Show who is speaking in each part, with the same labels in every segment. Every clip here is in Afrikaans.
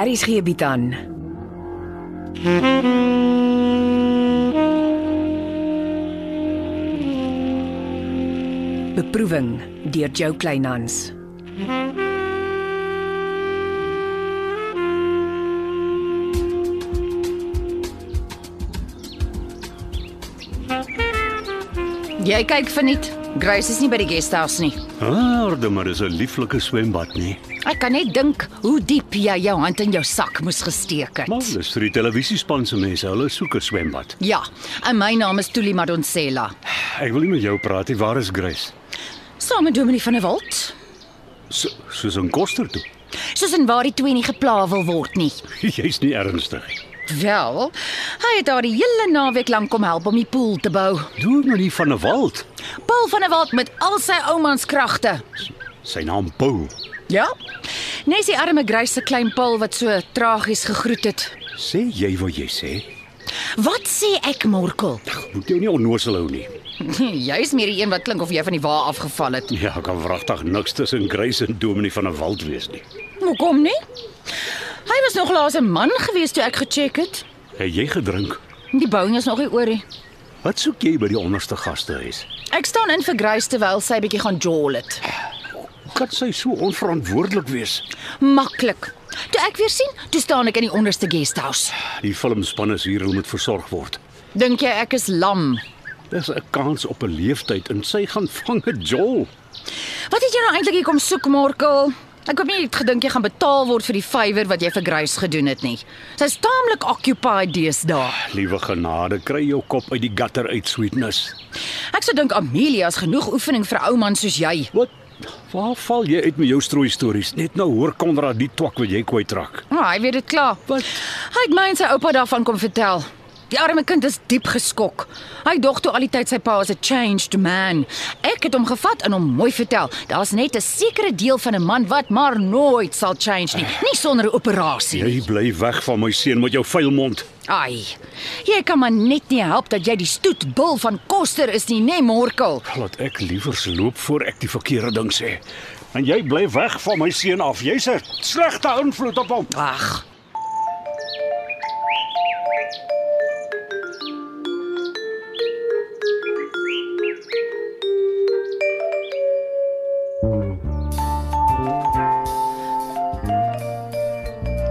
Speaker 1: Aries gee bied aan. Beproeving deur Jo Kleinhans.
Speaker 2: Jy kyk verniet. Grace is nie by die guesthouse nie.
Speaker 3: Aarde, maar dis 'n lieflike swembad nee. nie.
Speaker 2: Ek kan net dink hoe diep jy jou hand in jou sak moes gesteek
Speaker 3: Maar
Speaker 2: het.
Speaker 3: dis vir die televisiespan se mense, hulle soek 'n swembad.
Speaker 2: Ja, en my naam is Tuli Madonsela.
Speaker 3: Ek wil nie met jou praat nie. Waar is Grace?
Speaker 2: Saam met Dominie van der Walt.
Speaker 3: So, soos 'n koster toe.
Speaker 2: Soos en waar die twee nie gepla wil word nie.
Speaker 3: Jy's nie ernstig nie.
Speaker 2: Wel, hy het haar die hele naweek lank kom help om die poel te bou.
Speaker 3: Doen nou nie van 'n wald.
Speaker 2: Paul van der Walt met al sy oumans kragte.
Speaker 3: Sy naam Paul.
Speaker 2: Ja. Nes die arme Grace se klein Paul wat so tragies gegroet het.
Speaker 3: Sê jy wat jy sê?
Speaker 2: Wat sê ek, Morkel?
Speaker 3: Moet jou nie onnoosel hou nie.
Speaker 2: Jy's meer die een wat klink of jy van die wa afgeval het.
Speaker 3: Ja, kan wragtig niks tussen Grace en Dominie van 'n wald wees nie.
Speaker 2: Hoekom nie? Hy was nog laas 'n man gewees toe ek gecheck het.
Speaker 3: Het jy gedrink?
Speaker 2: Die bouing is nog nie oor nie.
Speaker 3: Wat soek jy by die onderste gastehuis?
Speaker 2: Ek staan in vir Grace terwyl sy bietjie gaan jol het.
Speaker 3: Kan sy so onverantwoordelik wees?
Speaker 2: Maklik. Toe ek weer sien, toe staan ek in die onderste guesthouse.
Speaker 3: Die filmspan is hier, hulle moet versorg word.
Speaker 2: Dink jy ek is lam?
Speaker 3: Dis 'n kans op 'n leeftyd en sy gaan vang 'n jol.
Speaker 2: Wat het jy nou eintlik hier kom soek, Morkel? Ek hoop nie jy het gedink jy gaan betaal word vir die fywer wat jy vir Grace gedoen het nie. Sy's taamlik occupied deesdae.
Speaker 3: Liewe genade, kry jou kop uit die gutter uit sweetness.
Speaker 2: Ek sou dink Amelia is genoeg oefening vir 'n ou man soos jy.
Speaker 3: Wat? Waar val jy uit met jou strooi stories? Net nou hoor Konrad die twak wat jy kwytrak.
Speaker 2: Maar hy weet dit klaar.
Speaker 3: Wat?
Speaker 2: Hy het my en sy oupa daarvan kom vertel. Die arme kind is diep geskok. Hy dog toe al die tyd sy pa is 'n changed man. Ek het hom gevat en hom mooi vertel. Daar's net 'n sekere deel van 'n man wat maar nooit sal change nie, nie sonder 'n operasie.
Speaker 3: Jy bly weg van my seun met jou vuil mond.
Speaker 2: Ai. Jy kan maar net nie help dat jy die stoetbul van Koster is nie, né, Morkel?
Speaker 3: Laat ek liewers loop voor ek die verkeerde ding sê. En jy bly weg van my seun af. Jy's 'n slegte invloed op hom.
Speaker 2: Ag.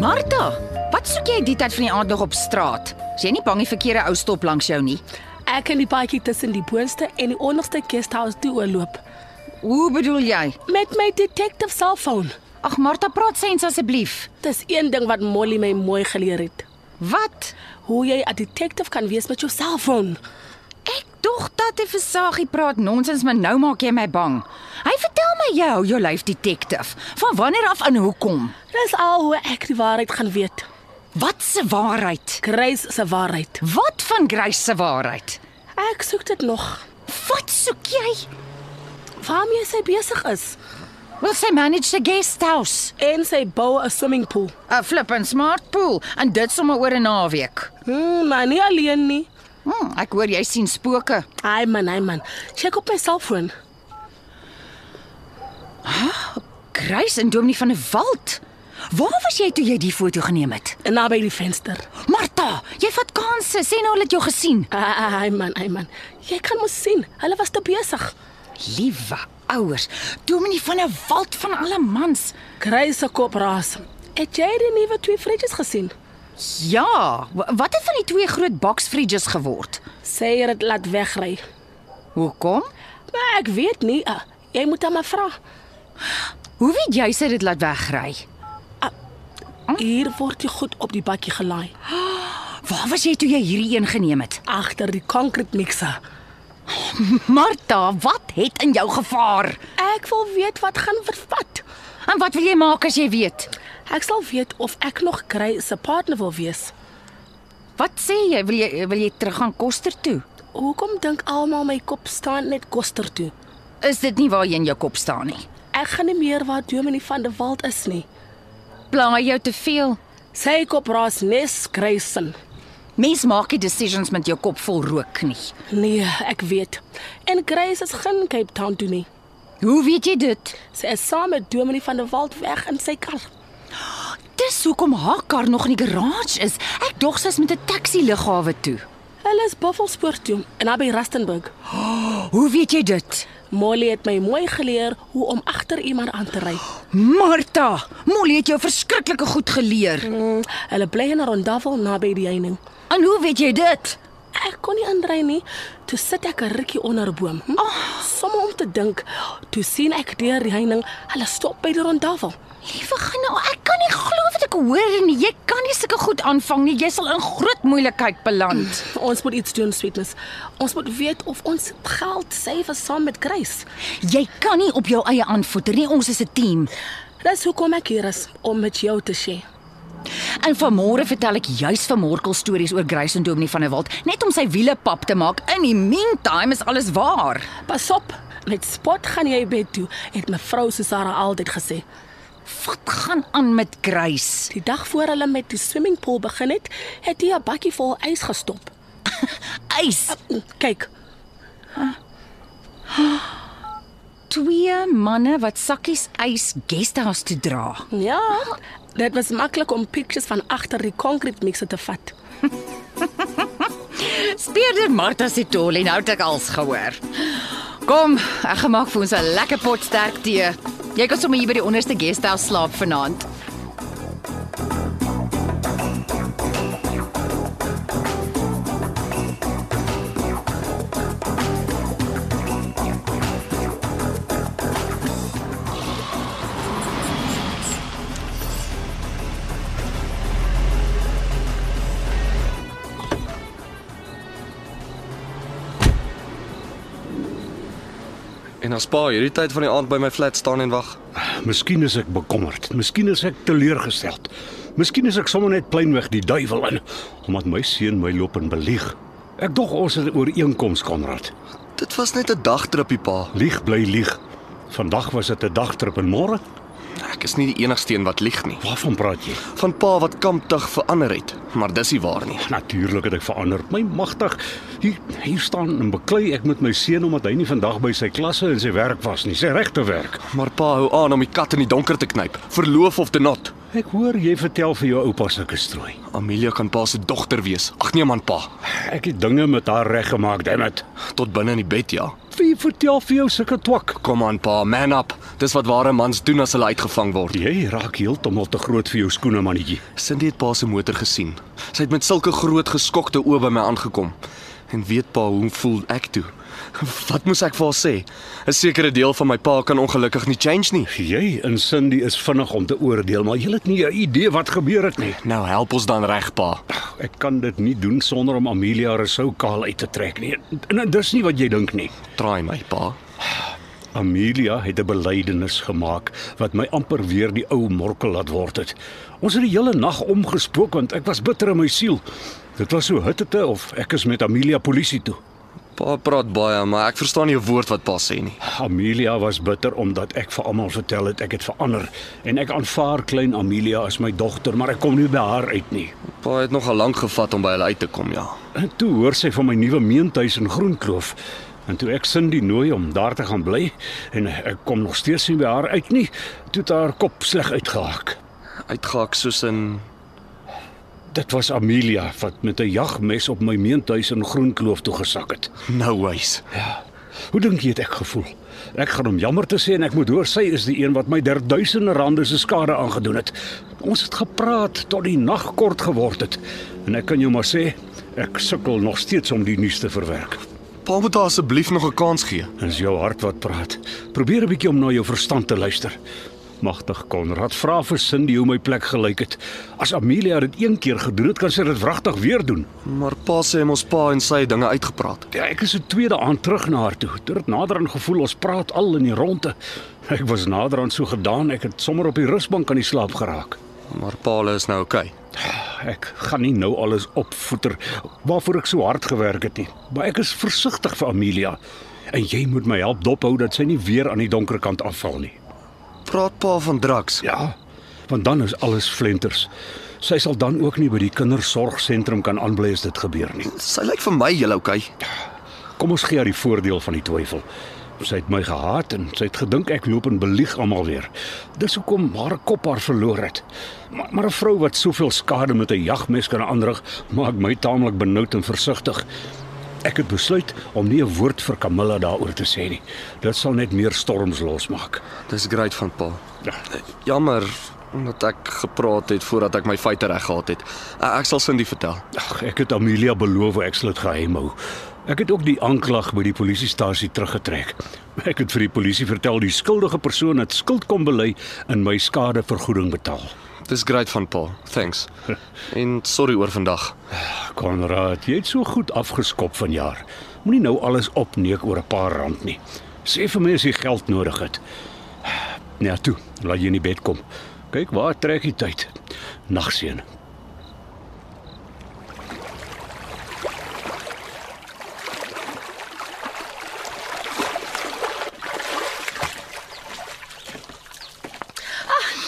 Speaker 2: Martha, wat soek jy die tyd van die aand nog op straat? Is jy nie bang die verkeerde ou stop langs jou nie?
Speaker 4: Ek het die paadjie tussen die boonste en die onderste guesthouse toe oorloop
Speaker 2: Hoe bedoel jy?
Speaker 4: met my detective selfoon.
Speaker 2: Ag Martha, praat sens asseblief.
Speaker 4: Dis een ding wat Molly my mooi geleer het.
Speaker 2: Wat?
Speaker 4: Hoe jy 'n detective kan wees met jou selfoon.
Speaker 2: Ek dog dat hy versagie praat nonsens, maar nou maak jy my bang. Hy vertel my jy hou jou lyf detective. Van wanneer af en hoekom?
Speaker 4: Dis al hoe ek die waarheid gaan weet.
Speaker 2: Wat se waarheid?
Speaker 4: Grace se waarheid.
Speaker 2: Wat van Grace se waarheid?
Speaker 4: Ek soek dit nog.
Speaker 2: Wat soek jy?
Speaker 4: Waarmee sy besig is
Speaker 2: Wil sy manage the guest house?
Speaker 4: en sy bou 'n swimming pool.
Speaker 2: 'n Flippin' smart pool en dit sommer oor 'n naweek.
Speaker 4: Hmm, maar nie alleen nie.
Speaker 2: Hm, ek hoor jy sien spooke.
Speaker 4: Ai man, ai man. Check op my selfoon.
Speaker 2: Grace en Dominie van 'n wald. Waar was jy toe jy die foto geneem het?
Speaker 4: En naby die venster.
Speaker 2: Martha, jy vat kansse. Sê nou hulle het jou gesien.
Speaker 4: Ai man, ai man. Jy kan mos sien, hulle was te besig.
Speaker 2: Liewe ouers, Dominie van 'n wald van alle mans.
Speaker 4: Kruise kop raas. Het jy die nuwe twee fretjies gesien?
Speaker 2: Ja, wa- wat het van die twee groot boksfridges geword?
Speaker 4: Sy het dit laat wegry.
Speaker 2: Hoekom?
Speaker 4: Maar ek weet nie. Uh, jy moet hom vra.
Speaker 2: Hoe weet jy sy dit laat wegry?
Speaker 4: Hier word jy goed op die bakkie gelaai
Speaker 2: Waar was jy toe jy hierdie een geneem het?
Speaker 4: agter die concrete mixer.
Speaker 2: Martha, wat het in jou gevaar?
Speaker 4: Ek wil weet wat gaan vervat.
Speaker 2: En wat wil jy maak as jy weet?
Speaker 4: Ek sal weet of ek nog Kruise se partner wil wees.
Speaker 2: Wat sê jy? Wil jy wil jy terug gaan Koster toe?
Speaker 4: Hoekom dink almal my kop staan net koster toe?
Speaker 2: Is dit nie waar jy in jou kop staan nie?
Speaker 4: Ek gaan nie meer waar Dominie van der Walt is nie.
Speaker 2: Plaai jou te veel.
Speaker 4: Sy kop raas nes Kruisen.
Speaker 2: Mens maak nie decisions met jou kop vol rook nie.
Speaker 4: Nee, ek weet. En Kruise is geen Cape Town toe nie.
Speaker 2: Hoe weet jy dit?
Speaker 4: Sy is saam met Dominie van der Walt weg in sy kar.
Speaker 2: Dis hoekom haar kar nog in die garage is. Ek dog sy's met 'n taxi lughawe toe.
Speaker 4: Hulle is Buffelspoort toe en naby Rustenburg.
Speaker 2: Hoe weet jy dit?
Speaker 4: Molly het my mooi geleer hoe om agter iemand aan te ry.
Speaker 2: Martha, Molly het jou verskriklike goed geleer.
Speaker 4: Mm, hulle bly in 'n rondavel naby die heining.
Speaker 2: En hoe weet jy dit?
Speaker 4: Ek kon nie aandry nie. Toe sit ek 'n rukkie onder 'n boom. Hm? Oh. Sommige om te dink. Toe sien ek deur die heining, hulle stop by die rondavel.
Speaker 2: Liewe genade, ek kan nie glo wat ek hoor nie. Jy kan nie sulke goed aanvang nie. Jy sal in groot moeilikheid beland.
Speaker 4: Ons moet iets doen, sweetness. Ons moet weet of ons geld syfer saam met Grace.
Speaker 2: Jy kan nie op jou eie aanvoeter nie. Ons is 'n team.
Speaker 4: Dis hoekom ek hier is om met jou te share.
Speaker 2: En vanmôre vertel ek juis van Morkel stories oor Grace en Dominie van der Walt, net om sy wiele pap te maak. In die meantime is alles waar.
Speaker 4: Pas op, met spot gaan jy bed toe, het mevrou Susara altyd gesê.
Speaker 2: Wat gaan aan met Grace?
Speaker 4: Die dag voor hulle met die swimmingpool begin het, het hy 'n bakkie vol ys gestop.
Speaker 2: Ys.
Speaker 4: Kyk,
Speaker 2: Twee manne wat sakkies ys guesthouse toe dra.
Speaker 4: ja, dit was maklik om pictures van agter die concrete mixer te vat.
Speaker 2: Speerder Martha se tol en nou het ek als gehoor. Kom, ek gaan maak vir ons 'n lekker pot sterk tee. Jy kan sommer hier by die onderste guesthouse slaap vanaand.
Speaker 5: En as pa hierdie tyd van die aand by my flat staan en wag.
Speaker 3: Miskien is ek bekommerd. Miskien is ek teleurgesteld. Miskien is ek sommer net pleinweg die duiwel in omdat my seun my loop en belieg. Ek dog ons het 'n ooreenkoms, Konrad.
Speaker 5: Dit was net 'n dagtrippie pa.
Speaker 3: Lieg bly lieg. Vandag was dit 'n dagtrip en môre?
Speaker 5: Ek is nie die enigste een wat lieg nie.
Speaker 3: Waarvan praat jy?
Speaker 5: Van pa wat kamptig verander het, maar dis nie waar nie.
Speaker 3: Natuurlik het ek verander. My magtig, hier hier staan en beklei ek met my seun omdat hy nie vandag by sy klasse en sy werk was nie, sy regte werk.
Speaker 5: Maar pa hou aan om die kat in die donker te knyp, verloof of te not.
Speaker 3: Ek hoor jy vertel vir jou oupa sulke strooi.
Speaker 5: Amelia kan pa se dogter wees. Ag nee man pa,
Speaker 3: Ek het dinge met haar reggemaak, damn it.
Speaker 5: tot binne in die bed ja.
Speaker 3: Wie vertel vir jou sulke twak?
Speaker 5: Kom aan pa, man up. Dis wat ware mans doen as hulle uitgevang word.
Speaker 3: Jy raak heeltemal te groot vir jou skoene, mannetjie.
Speaker 5: Cindy het pa se motor gesien. Sy het met sulke groot geskokte oë by my aangekom. En weet pa hoe voel ek toe? Wat moes ek vir haar sê? 'n Sekere deel van my pa kan ongelukkig nie change nie.
Speaker 3: Jy en Cindy is vinnig om te oordeel, maar jy het nie 'n idee wat gebeur het nie.
Speaker 5: Nou help ons dan reg pa.
Speaker 3: Ek kan dit nie doen sonder om Amelia Rousseau kaal uit te trek nie. En, en dis nie wat jy dink nie.
Speaker 5: Traai my pa.
Speaker 3: Amelia het 'n belydenis gemaak wat my amper weer die ou morkel laat word het. Ons het die hele nag omgespook want ek was bitter in my siel. Dit was so hitte of ek is met Amelia polisie toe.
Speaker 5: Pa praat baie, maar ek verstaan nie 'n woord wat pa sê nie.
Speaker 3: Amelia was bitter omdat ek vir almal vertel het ek het verander en ek aanvaar klein Amelia as my dogter, maar ek kom nie by haar uit nie.
Speaker 5: Pa het nogal lank gevat om by hulle uit te kom, ja.
Speaker 3: En toe hoor sy van my nuwe meentuis in Groenkloof. En toe ek Cindy nooi om daar te gaan bly en ek kom nog steeds nie by haar uit nie, toe het haar kop sleg uitgehaak.
Speaker 5: Uitgehak soos in
Speaker 3: Dit was Amelia wat met 'n jagmes op my meentuis in Groenkloof toe gesak het.
Speaker 5: no ways.
Speaker 3: Ja. Hoe dink jy het ek gevoel? Ek gaan hom jammer te sê en ek moet hoor sy is die een wat my der duisende rande se skade aangedoen het. Ons het gepraat tot die nag kort geword het en ek kan jou maar sê ek sukkel nog steeds om die nuus te verwerk.
Speaker 5: Pa moet haar asseblief nog 'n kans gee.
Speaker 3: Dis jou hart wat praat. Probeer 'n bietjie om na jou verstand te luister. Magtig Konrad, vra vir Cindy hoe my plek gelyk het. As Amelia dit een keer gedoen het, kan sy dit wragtig weer doen.
Speaker 5: Maar pa sê hom ons pa en sy het dinge uitgepraat.
Speaker 3: Ja, ek is 'n tweede aand terug na haar toe. Toe het nader aan gevoel ons praat al in die ronde. Ek was nader aan so gedaan, ek het sommer op die rusbank aan die slaap geraak.
Speaker 5: Maar pa hulle is nou oukei. Okay.
Speaker 3: Ek gaan nie nou alles opvoeter waarvoor ek so hard gewerk het nie, maar ek is versigtig vir Amelia. En jy moet my help dophou dat sy nie weer aan die donker kant afval nie.
Speaker 5: Praat pa van drugs.
Speaker 3: Ja, want dan is alles flenters. Sy sal dan ook nie by die kindersorgsentrum kan aanbly as dit gebeur nie.
Speaker 5: Sy lyk vir my heel oukei. Okay.
Speaker 3: Kom ons gee haar die voordeel van die twyfel. Sy het my gehaat en sy het gedink ek loop en belieg almal weer. Dis hoekom haar kop haar verloor het. Maar, maar 'n vrou wat soveel skade met 'n jagmes kan aanrig, maak my taamlik benoud en versigtig. Ek het besluit om nie 'n woord vir Camilla daaroor te sê nie. Dit sal net meer storms losmaak.
Speaker 5: Dis great van Paul.
Speaker 3: Ja.
Speaker 5: Jammer omdat ek gepraat het voordat ek my feite reg gehad het. E- Ek sal Cindy vertel.
Speaker 3: Ag, ek het Amelia beloof ek sal dit geheim hou. Ek het ook die aanklag by die polisiestasie teruggetrek. Ek het vir die polisie vertel die skuldige persoon het skuld kom bely en my skadevergoeding betaal.
Speaker 5: Dis great van Paul. Thanks. En sorry oor vandag.
Speaker 3: Konrad, jy het so goed afgeskop vanjaar. Moenie nou alles opneek oor 'n paar rand nie. Sê vir my as jy geld nodig het. Ja, toe, laat jy in die bed kom. Kyk, waar trek die tyd? Nagseën.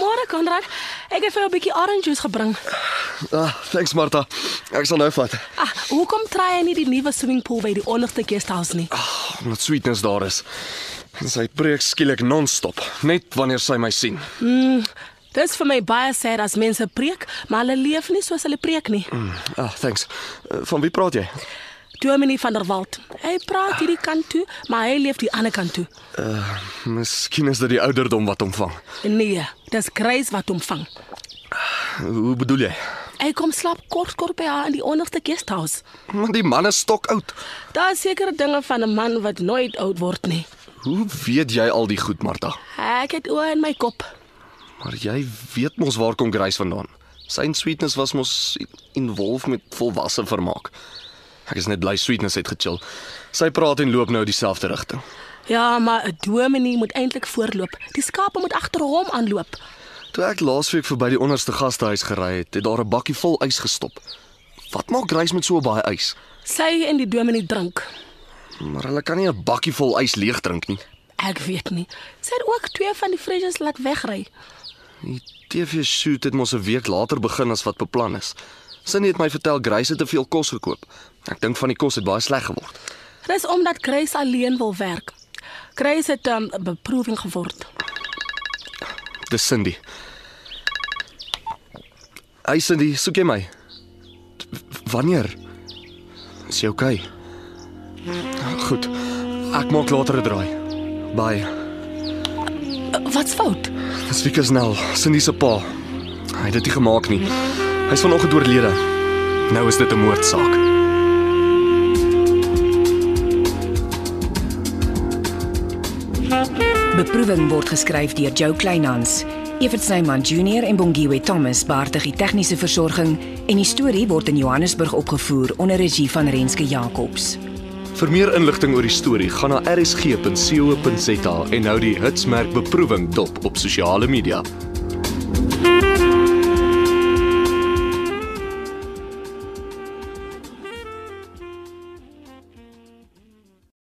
Speaker 4: Môre Konrad, ek het vir jou 'n bietjie orange juice gebring.
Speaker 5: Ah, thanks Martha. Ek sal nou vat.
Speaker 4: Ah, hoekom try jy nie die nuwe swimmingpool by die onderste guesthouse nie?
Speaker 5: Oh, Omdat sweetness daar is. En sy preek skielik non-stop, net wanneer sy my sien.
Speaker 4: Dis vir my baie sad as mense preek, maar hulle leef nie soos hulle preek nie.
Speaker 5: Ah, thanks. Eh, Van wie praat jy?
Speaker 4: Dominee van der Walt. Hy praat hierdie kant toe, maar hy leef die ander kant toe.
Speaker 5: Miskien is dit die ouderdom wat hom vang.
Speaker 4: Nee, dis Grace wat hom vang.
Speaker 5: Hoe bedoel jy?
Speaker 4: Hy kom slaap kort kort by haar in die onderste guesthouse.
Speaker 5: Want die man is stok oud.
Speaker 4: Daar is sekere dinge van 'n man wat nooit oud word nie.
Speaker 5: Hoe weet jy al die goed, Martha?
Speaker 4: Ek het oë in my kop.
Speaker 5: Maar jy weet mos waar kom Grace vandaan. Sy en Sweetness was mos involved met volwasse vermaak. Ek is net bly Sweetness het gechill. Sy praat en loop nou dieselfde rigting.
Speaker 4: Ja, maar 'n dominee moet eintlik voorloop. Die skape moet agter hom aanloop.
Speaker 5: Toe ek laasweek verby die onderste gastehuis gery het, het daar 'n bakkie vol ys gestop. Wat maak Grace met so baie ys?
Speaker 4: Sy en die dominee drink.
Speaker 5: Maar hulle kan nie 'n bakkie vol ys leeg drink nie.
Speaker 4: Ek weet nie. Sy het ook twee van die fridges laat wegry.
Speaker 5: Die TV-shoot het mos 'n week later begin as wat beplan is. Cindy het my vertel Grace het te veel kos gekoop. Ek dink van die kos het baie sleg geword.
Speaker 4: Dis omdat Grace alleen wil werk. Grace het 'n um, beproewing geword.
Speaker 5: Dis Cindy. Hey Cindy, soek jy my? T- Wanneer? Is jy okay? Goed. Ek maak later 'n draai. Bye.
Speaker 4: Uh, wat's fout?
Speaker 5: Dis Wieke Snell, Cindy se pa. Hy het dit nie gemaak nie. Hy's vanoggend oorlede. Nou is dit 'n moordsaak.
Speaker 1: Beproeving word geskryf deur Jo Kleinhans. Evert Snyman Junior en Bongwe Thomas baartig die tegniese versorging en die storie word in Johannesburg opgevoer onder regie van Renske Jacobs.
Speaker 5: Vir meer inligting oor die storie, gaan na rsg.co.za en hou die hitsmerk beproewing dop op sosiale media.